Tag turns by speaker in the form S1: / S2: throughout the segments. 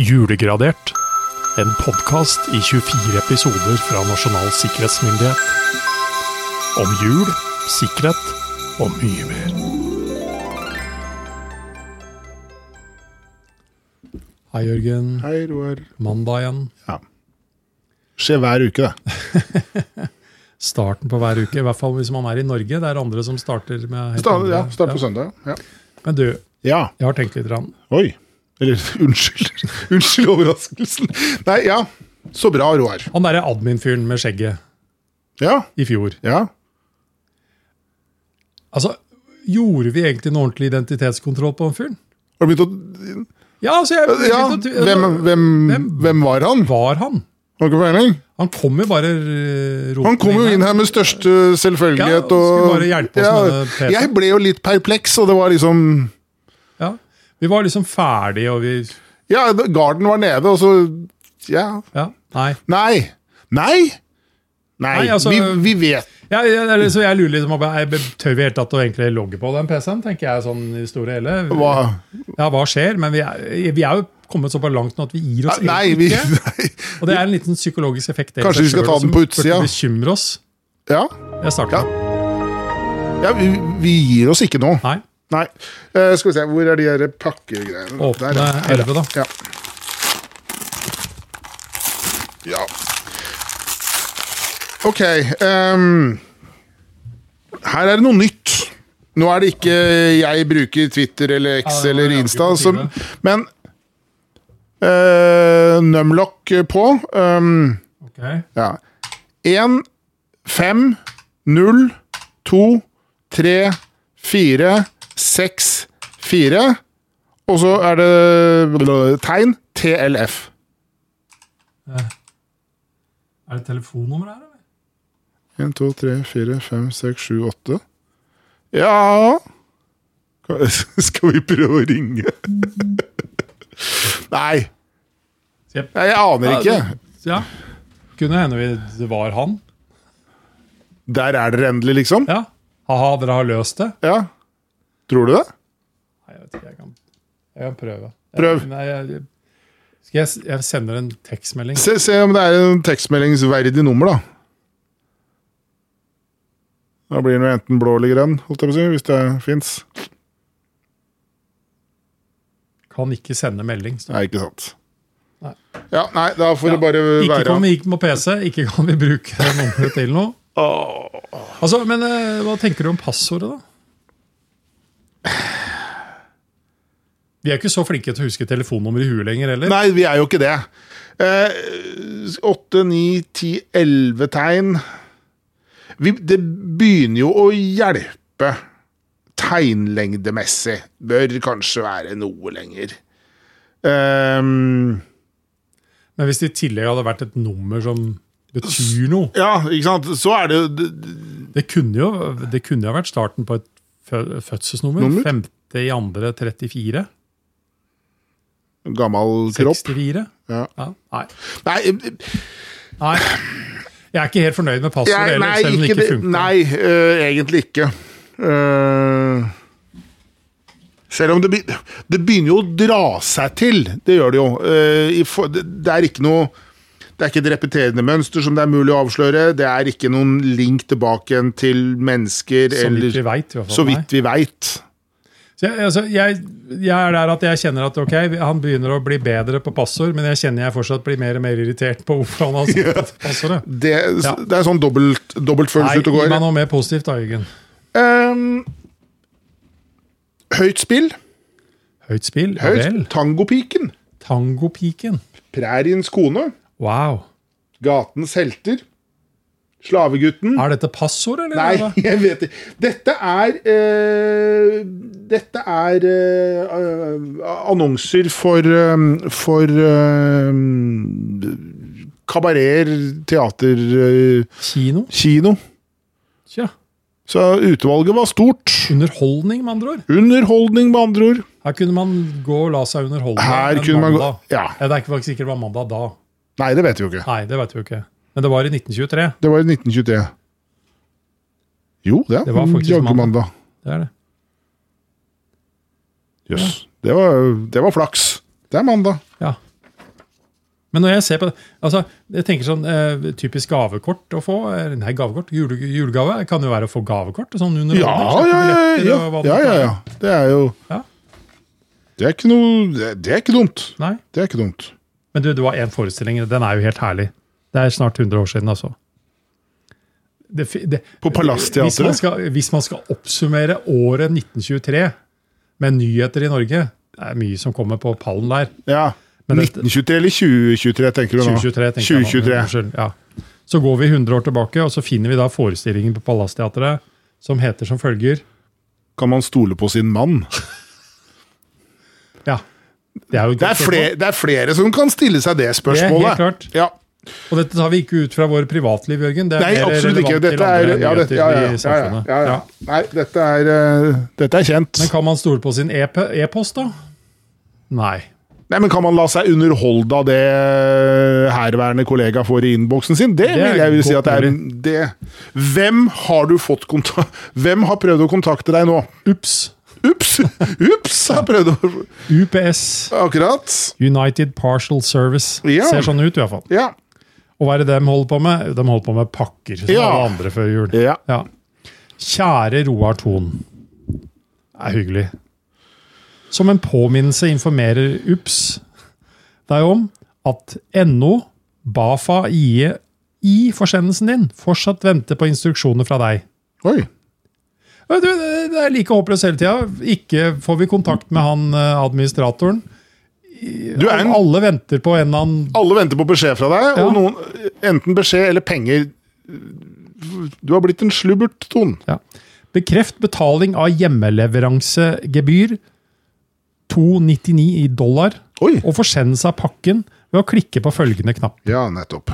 S1: Julegradert. En podkast i 24 episoder fra Nasjonal sikkerhetsmyndighet. Om jul, sikkerhet og mye mer. Hei, Jørgen.
S2: Hei, Roar.
S1: Mandag igjen.
S2: Skjer hver uke, det.
S1: Starten på hver uke. I hvert fall hvis man er i Norge. Det er andre som starter med helt
S2: Start,
S1: andre-
S2: ja, start på
S1: Ja.
S2: søndag. Ja.
S1: Men du, jeg
S2: ja.
S1: har tenkt litt. grann.
S2: Oi. Eller unnskyld. Unnskyld overraskelsen. Nei, ja. Så bra, Roar.
S1: Han derre admin-fyren med skjegget
S2: Ja.
S1: i fjor.
S2: Ja.
S1: Altså, Gjorde vi egentlig en ordentlig identitetskontroll på den fyren?
S2: Har du begynt å
S1: Ja, altså, jeg,
S2: Ja. Hvem,
S1: altså,
S2: hvem, hvem var han?
S1: var han?
S2: Har du ikke peiling?
S1: Han kom jo bare eh, roten
S2: Han kom jo inn her med største
S1: Ja,
S2: selvfølgelighet og
S1: skulle bare hjelpe oss med det, Peter.
S2: Jeg ble jo litt perpleks, og det var liksom
S1: Ja. Vi var liksom ferdige, og vi
S2: Ja, garden var nede, og så Ja.
S1: Ja, nei.
S2: Nei. Nei! Nei,
S1: Nei, altså-
S2: vi, vi vet
S1: Ja, ja, eller så jeg lurer liksom på jeg- Tør vi helt tatt å egentlig logge på den PC-en, tenker jeg sånn i det store og hele.
S2: hva
S1: Ja, hva skjer? Men vi er, vi er jo kommet såpass langt nå at vi gir oss
S2: Nei,
S1: egentlig
S2: vi
S1: ikke.
S2: nei.
S1: Og det er en liten psykologisk effekt. i
S2: Kanskje
S1: seg
S2: vi skal
S1: selv
S2: ta den
S1: som
S2: på utsida?
S1: burde bekymre oss.
S2: Ja.
S1: Jeg starter.
S2: ja vi, vi gir oss ikke nå.
S1: Nei.
S2: Nei. Eh, skal vi se, hvor er de her pakkegreiene?
S1: Åpne
S2: Der, ja.
S1: elleve, da.
S2: Ja. ja. Ok. ehm, her er det noe nytt. Nå er det ikke jeg bruker Twitter eller X
S1: Ja, det var
S2: eller
S1: jaggu
S2: Insta,
S1: på
S2: som,
S1: tide.
S2: men uh, Numlock på. ehm,
S1: Ok.
S2: ja. 1, 5, 0, 2, 3, 4, 6, 4. Og så er det tegn TLF.
S1: Er det telefonnummer her, eller?
S2: 1, 2, 3, 4, 5, 6, 7, 8. Ja Skal vi prøve å ringe? Nei.
S1: Jep.
S2: Nei, Jeg aner ikke.
S1: Ja. Kunne hende vi, det var han.
S2: Der er dere endelig, liksom?
S1: Ja. Ha-ha, dere har løst det?
S2: Ja. Tror du det?
S1: Nei, jeg vet ikke. Jeg kan, jeg kan prøve.
S2: Prøv.
S1: Jeg, nei, jeg, skal jeg, s- jeg sender en tekstmelding.
S2: Se, se om det er en tekstmeldingsverdig nummer, da. Da blir den jo enten blå eller grønn, holdt jeg på å si, hvis det fins.
S1: Kan ikke sende melding. Så.
S2: Nei, ikke sant.
S1: Nei.
S2: Ja, nei, da får det bare
S1: Ikke
S2: være
S1: kan vi ikke på PC, ikke kan vi bruke det nummeret til noe. Altså, men eh, hva tenker du om passordet, da? Vi er ikke så flinke til å huske telefonnummer i huet lenger heller.
S2: Nei, vi er jo ikke det. Eh, 8, 9, 10, 11 tegn. Vi, det begynner jo å hjelpe tegnlengdemessig. Bør kanskje være noe lenger. Ehm,
S1: Men hvis det i tillegg hadde vært et nummer som betyr noe
S2: ja, ikke sant. Så er det jo
S1: Det kunne jo, det kunne jo vært starten på et fø- fødselsnummer.
S2: Nummer?
S1: 5. i andre 34.
S2: Gammel kropp.
S1: 64.
S2: Ja.
S1: Nei.
S2: Nei, eh,
S1: nei. Jeg er ikke helt fornøyd med passordet
S2: jeg,
S1: heller,
S2: nei,
S1: selv om det
S2: ikke,
S1: ikke
S2: det-
S1: funker.
S2: nei øh, egentlig ikke. Øh, selv om det, be- det begynner jo å dra seg til, det gjør det jo. Øh, i for, det, det er ikke noe det er ikke et repeterende mønster som det er mulig å avsløre. Det er ikke noen link tilbake igjen til mennesker,
S1: Så
S2: eller
S1: vidt vi vet, i hvert fall.
S2: så
S1: nei.
S2: vidt vi veit.
S1: Så jeg, altså, jeg, jeg er der at jeg kjenner at ok, han begynner å bli bedre på passord, men jeg kjenner jeg fortsatt blir mer og mer irritert på hvorfor han har sagt passordet.
S2: Det,
S1: Ja.
S2: det er sånn dobbelt,
S1: Nei,
S2: dobbeltfølelse ute
S1: gi
S2: og går.
S1: meg noe mer positivt da, Jørgen.
S2: Ehm, høyt spill.
S1: Høyt spill, ja vel.
S2: Høyt. Tangopiken.
S1: Tangopiken.
S2: Præriens kone.
S1: Wow.
S2: Gatens helter. Slavegutten.
S1: Er dette passord, eller?
S2: Nei,
S1: hva?
S2: jeg vet ikke. Dette er eh, Dette er eh, eh, annonser for eh, For eh, kabareter, teater, eh,
S1: Kino?
S2: kino.
S1: Tja.
S2: Så utvalget var stort.
S1: Underholdning, med andre ord.
S2: Underholdning, med andre ord.
S1: Her kunne man gå og la seg underholde.
S2: Her
S1: en
S2: kunne man gå
S1: mandag.
S2: Ja.
S1: Ja, det er ikke faktisk sikkert det var mandag da.
S2: Nei, det vet vi jo ikke.
S1: Nei, det vet vi jo ikke. Men det var i 1923.
S2: Det var i 1923. Jo, det
S1: Det var
S2: er
S1: faktisk
S2: jaggu
S1: mandag.
S2: mandag.
S1: Det er det.
S2: Jøss. Det, var, det var flaks. Det er mandag.
S1: Ja. Men når jeg ser på det, altså, jeg tenker sånn eh, typisk gavekort å få. eh, Nei, gavekort, jule, julegave kan jo være å få gavekort. Sånn under
S2: Ja, ja, ja.
S1: billetter og
S2: Ja,
S1: hva det måtte
S2: ja, ja,
S1: være.
S2: ja. Det er jo
S1: Ja.
S2: Det er ikke noe Det det er ikke dumt.
S1: Nei,
S2: Det er ikke dumt.
S1: Men du, det var én forestilling. Den er jo helt herlig. Det er snart 100 år siden, altså. Det, fi- det,
S2: På Palassteatret?
S1: Hvis man, skal, hvis man skal oppsummere året 1923 med nyheter i Norge Det er mye som kommer på pallen der.
S2: Ja.
S1: Men det-
S2: 1923 eller 2023, tenker du nå?
S1: 2023, tenker jeg. nå.
S2: 2023.
S1: Unnskyld, ja. Så går vi 100 år tilbake, og så finner vi da forestillingen på Palassteatret som heter som følger
S2: Kan man stole på sin mann?
S1: Ja. Det er jo et
S2: Det er,
S1: godt
S2: flere, det er flere som kan stille seg det
S1: Det er helt
S2: spørsmålet.
S1: klart.
S2: Ja,
S1: spørsmål. Og dette tar vi ikke ut fra våre privatliv, Jørgen. Det er
S2: Nei,
S1: mer
S2: absolutt ikke.
S1: relevant til
S2: Dette er,
S1: andre
S2: ja, dette, ja, ja,
S1: nyheter i
S2: ja, ja,
S1: samfunnet.
S2: ja, ja.
S1: Ja.
S2: Nei, dette er, eh, dette er kjent.
S1: Men kan man stole på sin EP e-post, da? Nei.
S2: Nei, men Kan man la seg underholde av det herværende kollega får i innboksen sin? Det,
S1: Det er
S2: vil jeg vil si at det er
S1: godt
S2: en, det. Hvem har du fått kontakt... Hvem har prøvd å kontakte deg nå?
S1: Ups.
S2: Ups! Ups! Har prøvd å
S1: UPS.
S2: Akkurat.
S1: United Partial Service.
S2: Ja.
S1: Ser sånn ut, i hvert fall.
S2: Ja.
S1: Og hva er det de holder på med? De holder på med pakker, som
S2: Ja.
S1: alle andre før jul.
S2: Ja.
S1: Ja. Kjære Roar Thon. Det er hyggelig. Som en påminnelse informerer UPS deg om at NO, BAFA, IE i forsendelsen din fortsatt venter på instruksjoner fra deg.
S2: Oi.
S1: Ja, Du, det er like håpløst hele tida. Ikke får vi kontakt med han eh, administratoren.
S2: Du er en,
S1: Alle venter på en eller annen
S2: alle venter på beskjed fra deg,
S1: Ja.
S2: og noen, enten beskjed eller penger. Du har blitt en slubbert, Ton.
S1: Ja. Bekreft betaling av hjemmeleveransegebyr 2,99 i dollar.
S2: Oi.
S1: Og forsendelse av pakken ved å klikke på følgende knapp.
S2: Ja, nettopp.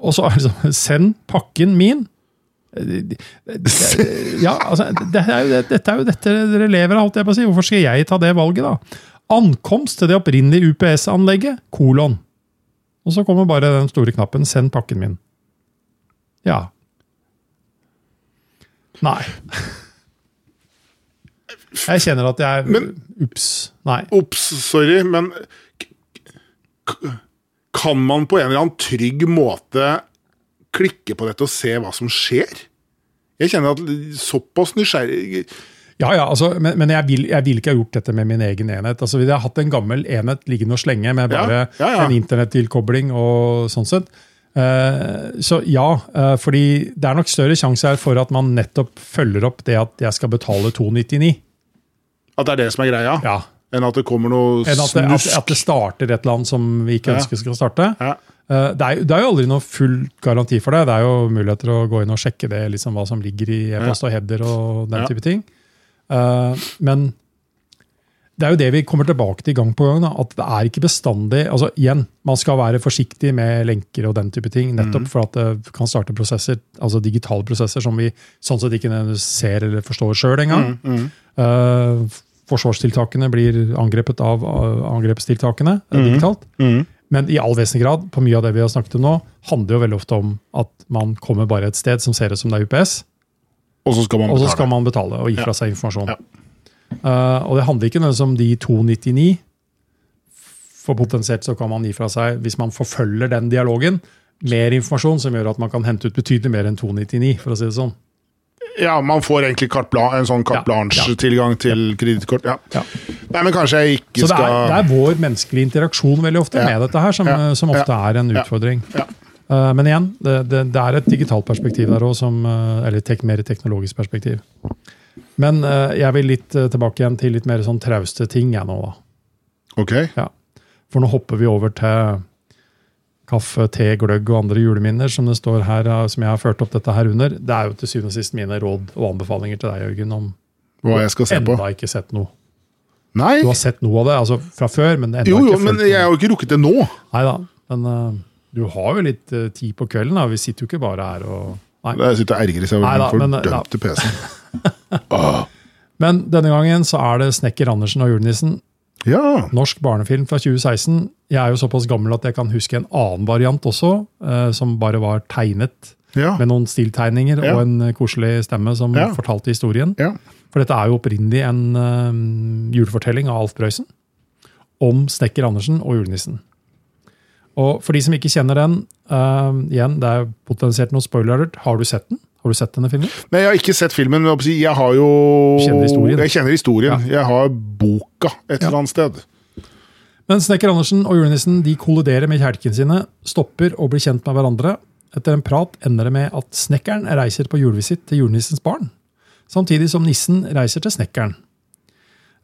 S1: Og så er det sånn Send pakken min. Ja, altså, det er jo, dette er jo dette dere lever av, holdt jeg på å si. Hvorfor skal jeg ta det valget, da? Ankomst til det opprinnelige UPS-anlegget, kolon. Og så kommer bare den store knappen 'send pakken min'. Ja. Nei. Jeg kjenner at jeg Ups. Nei.
S2: Ops, sorry, men k- k- kan man på en eller annen trygg måte klikke på dette og se hva som skjer? Jeg kjenner at såpass nysgjerrig
S1: Ja, ja, altså, men, men jeg, vil, jeg vil ikke ha gjort dette med min egen enhet. Altså, Ville jeg hatt en gammel enhet liggende og slenge med bare
S2: Ja, ja, ja.
S1: en internettilkobling og sånn sett. Eh, så ja, eh, fordi det er nok større sjanse her for at man nettopp følger opp det at jeg skal betale 299.
S2: At det er det som er greia,
S1: Ja.
S2: enn at det kommer noe
S1: Enn at det, at,
S2: snusk.
S1: at det starter et eller annet som vi ikke
S2: Ja.
S1: ønsker skal starte.
S2: Ja.
S1: Eh, det, er, jo- det er jo aldri noe full garanti for det. Det er jo muligheter å gå inn og sjekke det, liksom, hva som ligger i e-post og header og den
S2: Ja.
S1: type ting. Eh, men det er jo det vi kommer tilbake til gang på gang. Da, at det er ikke bestandig altså igjen, Man skal være forsiktig med lenker og den type ting, nettopp for at det kan starte prosesser, altså digitale prosesser som vi sånn sett ikke nødvendigvis ser eller forstår sjøl
S2: Mhm. Mm,
S1: engang. Eh, forsvarstiltakene blir angrepet av av angrepstiltakene eh, digitalt.
S2: mm.
S1: Men i all vesentlig grad, på mye av det vi har snakket om nå, handler jo veldig ofte om at man kommer bare et sted som ser ut som det er UPS,
S2: Og så skal man
S1: og så
S2: betale.
S1: skal man betale og gi fra seg informasjon.
S2: Ja.
S1: Eh, og det handler ikke nødvendigvis om de 299, for potensielt så kan man gi fra seg, hvis man forfølger den dialogen, mer informasjon som gjør at man kan hente ut betydelig mer enn 299, for å si det sånn.
S2: Ja, man får egentlig carte blan- en sånn
S1: Ja,
S2: carte
S1: ja.
S2: blanche-tilgang til kredittkort. Ja.
S1: Ja.
S2: Nei, men kanskje jeg ikke
S1: Så det er,
S2: skal
S1: det er vår menneskelige interaksjon veldig ofte
S2: Ja.
S1: med dette her, som, eh,
S2: Ja.
S1: som ofte er en
S2: Ja.
S1: utfordring.
S2: Ja.
S1: Eh, men igjen, det, det, det er et digitalt perspektiv der òg, eller tek, mer teknologisk perspektiv. Men eh, jeg vil litt eh, tilbake igjen til litt mer sånn trauste ting jeg nå, da.
S2: Ok.
S1: For nå hopper vi over til kaffe, te, gløgg og andre juleminner, som det står her, eh, som jeg har ført opp dette her under. Det er jo til syvende og sist mine råd og anbefalinger til deg, Jørgen, om
S2: Hva jeg skal se på.
S1: enda ikke sett noe.
S2: Nei,
S1: Du har sett noe av det, altså fra før, men enda
S2: jo, jo,
S1: ikke
S2: men
S1: fulgt
S2: jeg
S1: noe.
S2: har jo ikke rukket det nå.
S1: Nei da, men eh, du har jo litt eh, tid på kvelden. da. Vi sitter jo ikke bare her og Nei.
S2: Jeg sitter og ergrer seg
S1: Nei
S2: over
S1: da, men,
S2: den
S1: ja.
S2: fordømte PC-en.
S1: Men denne gangen så er det Snekker Andersen og julenissen.
S2: Ja.
S1: Norsk barnefilm fra 2016. Jeg er jo såpass gammel at jeg kan huske en annen variant også, eh, som bare var tegnet.
S2: Ja.
S1: Med noen stiltegninger
S2: Ja.
S1: og en eh, koselig stemme som
S2: Ja.
S1: fortalte historien.
S2: ja.
S1: For dette er jo opprinnelig en eh, julefortelling av Alf Prøysen om Snekker Andersen og julenissen. Og for de som ikke kjenner den, eh, igjen, det er potensielt noen spoiler alert. Har du sett den? Har du sett denne filmen?
S2: Nei, jeg har ikke sett filmen, men jeg må si, jeg har jo
S1: Kjenner historien.
S2: Jeg kjenner historien. Jeg har boka et eller annet sted.
S1: Men Snekker Andersen og julenissen de kolliderer med kjelkene sine, stopper og blir kjent med hverandre. Etter en prat ender det med at snekkeren reiser på julevisitt til julenissens barn, samtidig som nissen reiser til snekkeren.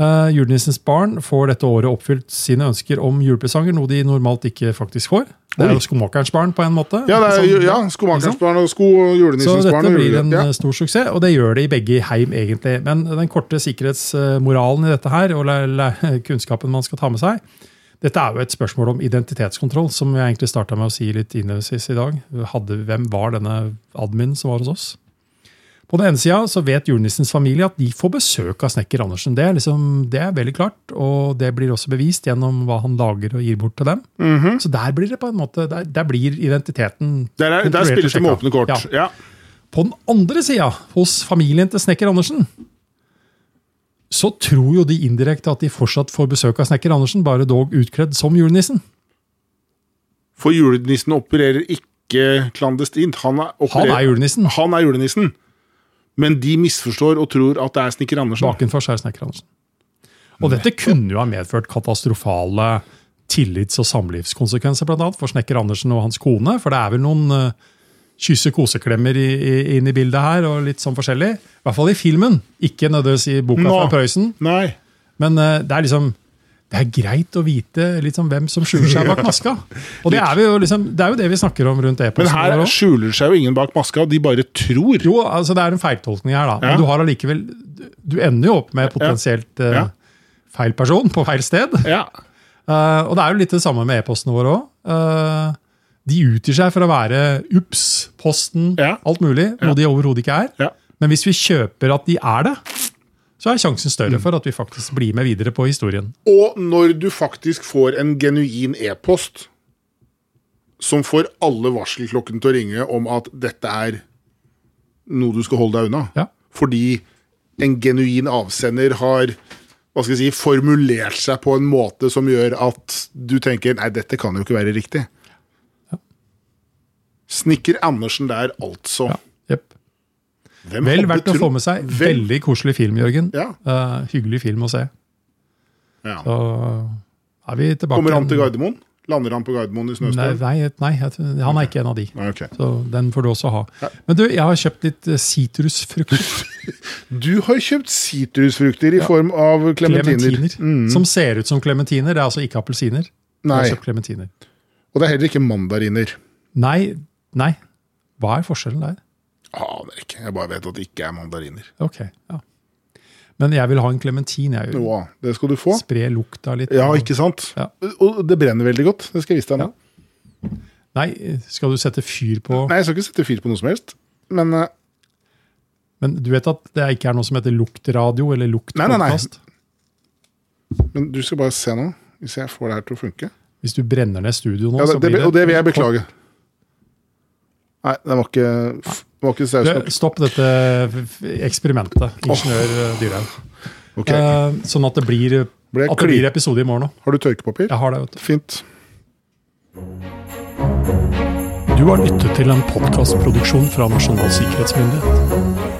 S1: Eh, julenissens barn får dette året oppfylt sine ønsker om julepresanger, noe de normalt ikke faktisk får. Det er
S2: Oi.
S1: jo skomakerens barn, på en måte.
S2: Ja, det er,
S1: Sånn-
S2: ja skomakerens barn og sko,
S1: så
S2: julenissens barn.
S1: dette
S2: og
S1: blir en
S2: jule- ja.
S1: eh, stor suksess, og det gjør det i begge heim, egentlig. Men den korte sikkerhetsmoralen i dette her, og la- la- kunnskapen man skal ta med seg, dette er jo et spørsmål om identitetskontroll, som jeg egentlig starta med å si litt innledningsvis i dag. Hadde, hvem var denne admin som var hos oss? På den ene sida så vet julenissens familie at de får besøk av snekker Andersen. Det er, liksom, det er veldig klart, og det blir også bevist gjennom hva han lager og gir bort til dem. Så der blir det på en måte, der, der blir identiteten
S2: Der, er,
S1: kontrollert
S2: der
S1: og
S2: spilles det med
S1: sjekket.
S2: åpne kort.
S1: Ja.
S2: Ja.
S1: På den andre sida, hos familien til snekker Andersen, så tror jo de indirekte at de fortsatt får besøk av snekker Andersen, bare dog utkledd som julenissen.
S2: For julenissen opererer ikke klandestint. Han er,
S1: Han er
S2: opererer,
S1: julenissen.
S2: han er julenissen. Men de misforstår og tror at det er Snekker Andersen.
S1: Bakenfor er snekker Andersen. Og dette kunne jo ha medført katastrofale tillits- og samlivskonsekvenser, blant annet, for snekker Andersen og hans kone. For det er vel noen eh, kysse-koseklemmer i- i- inn i bildet her, og litt sånn forskjellig. I hvert fall i filmen, ikke nødvendigvis i boka
S2: Nå.
S1: fra Prøysen.
S2: Nei.
S1: Men eh, det er liksom det er greit å vite litt sånn hvem som skjuler seg bak maska. Og det er, vi jo liksom, det er jo det vi snakker om rundt
S2: Men
S1: e-posten.
S2: her
S1: vår også.
S2: skjuler seg jo ingen bak maska, de bare tror.
S1: Jo, altså Det er en feiltolkning her, da.
S2: Ja.
S1: Men du har allikevel Du ender jo opp med potensielt eh,
S2: Ja.
S1: feil person på feil sted.
S2: Ja.
S1: Eh, og det er jo litt det samme med e-postene våre òg. Eh, de utgir seg for å være UPS, Posten,
S2: Ja.
S1: alt mulig, noe de overhodet ikke er.
S2: Ja.
S1: Men hvis vi kjøper at de er det, så er sjansen større
S2: Mm.
S1: for at vi faktisk blir med videre på historien.
S2: Og når du faktisk får en genuin e-post som får alle varselklokkene til å ringe om at dette er noe du skal holde deg unna,
S1: Ja.
S2: fordi en genuin avsender har hva skal jeg si, formulert seg på en måte som gjør at du tenker nei, dette kan jo ikke være riktig. Snikker Andersen der, altså.
S1: Ja, jepp.
S2: Hvem
S1: Vel
S2: hadde
S1: verdt å
S2: trodd-
S1: få med seg.
S2: Vel-
S1: Veldig koselig film, Jørgen.
S2: Ja.
S1: Eh, hyggelig film å se.
S2: Ja.
S1: Da er vi tilbake.
S2: Kommer han til
S1: igjen.
S2: Gardermoen? Lander han på Gardermoen i
S1: Nei,
S2: snøstorm?
S1: nei, nei, jeg tror- han er ikke en av de.
S2: Nei, ok.
S1: Så den får du også ha. Men du, jeg har kjøpt litt eh, sitrusfrukter.
S2: Du har kjøpt sitrusfrukter i form av klementiner.
S1: Klementiner. Som ser ut som klementiner. Det er altså ikke appelsiner.
S2: Mm. Nei.
S1: Jeg har kjøpt klementiner.
S2: Og det er heller ikke mandariner.
S1: Nei, nei. Hva er forskjellen der?
S2: Aner ikke. Jeg bare vet at det ikke er mandariner.
S1: Ok, ja. Men jeg vil ha en klementin. jeg Jørgen.
S2: Noa, det skal du få.
S1: Spre lukta litt.
S2: Ja, ikke sant?
S1: Ja.
S2: Og det brenner veldig godt. Det skal jeg vise deg nå.
S1: Nei, skal du sette fyr på
S2: Nei, jeg skal ikke sette fyr på noe som helst. Men eh,
S1: Men du vet at det ikke er noe som heter luktradio eller
S2: Nei, nei, nei.
S1: luktpodkast?
S2: men du skal bare se nå, hvis jeg får det her til å funke.
S1: Hvis du brenner ned studio nå,
S2: Ja, det,
S1: så
S2: det,
S1: blir det
S2: og det vil jeg beklage. Nei, den var ikke, den var ikke saus
S1: Du,
S2: nok.
S1: Stopp dette f- eksperimentet, ingeniør oh. Dyrhaug.
S2: Ok.
S1: Eh, sånn at det blir,
S2: Ble jeg
S1: at det blir
S2: kli-
S1: episode i morgen òg.
S2: Har du tørkepapir?
S1: Jeg har det, vet du.
S2: Fint.
S1: Du har lyttet til en podkastproduksjon fra Nasjonal sikkerhetsmyndighet.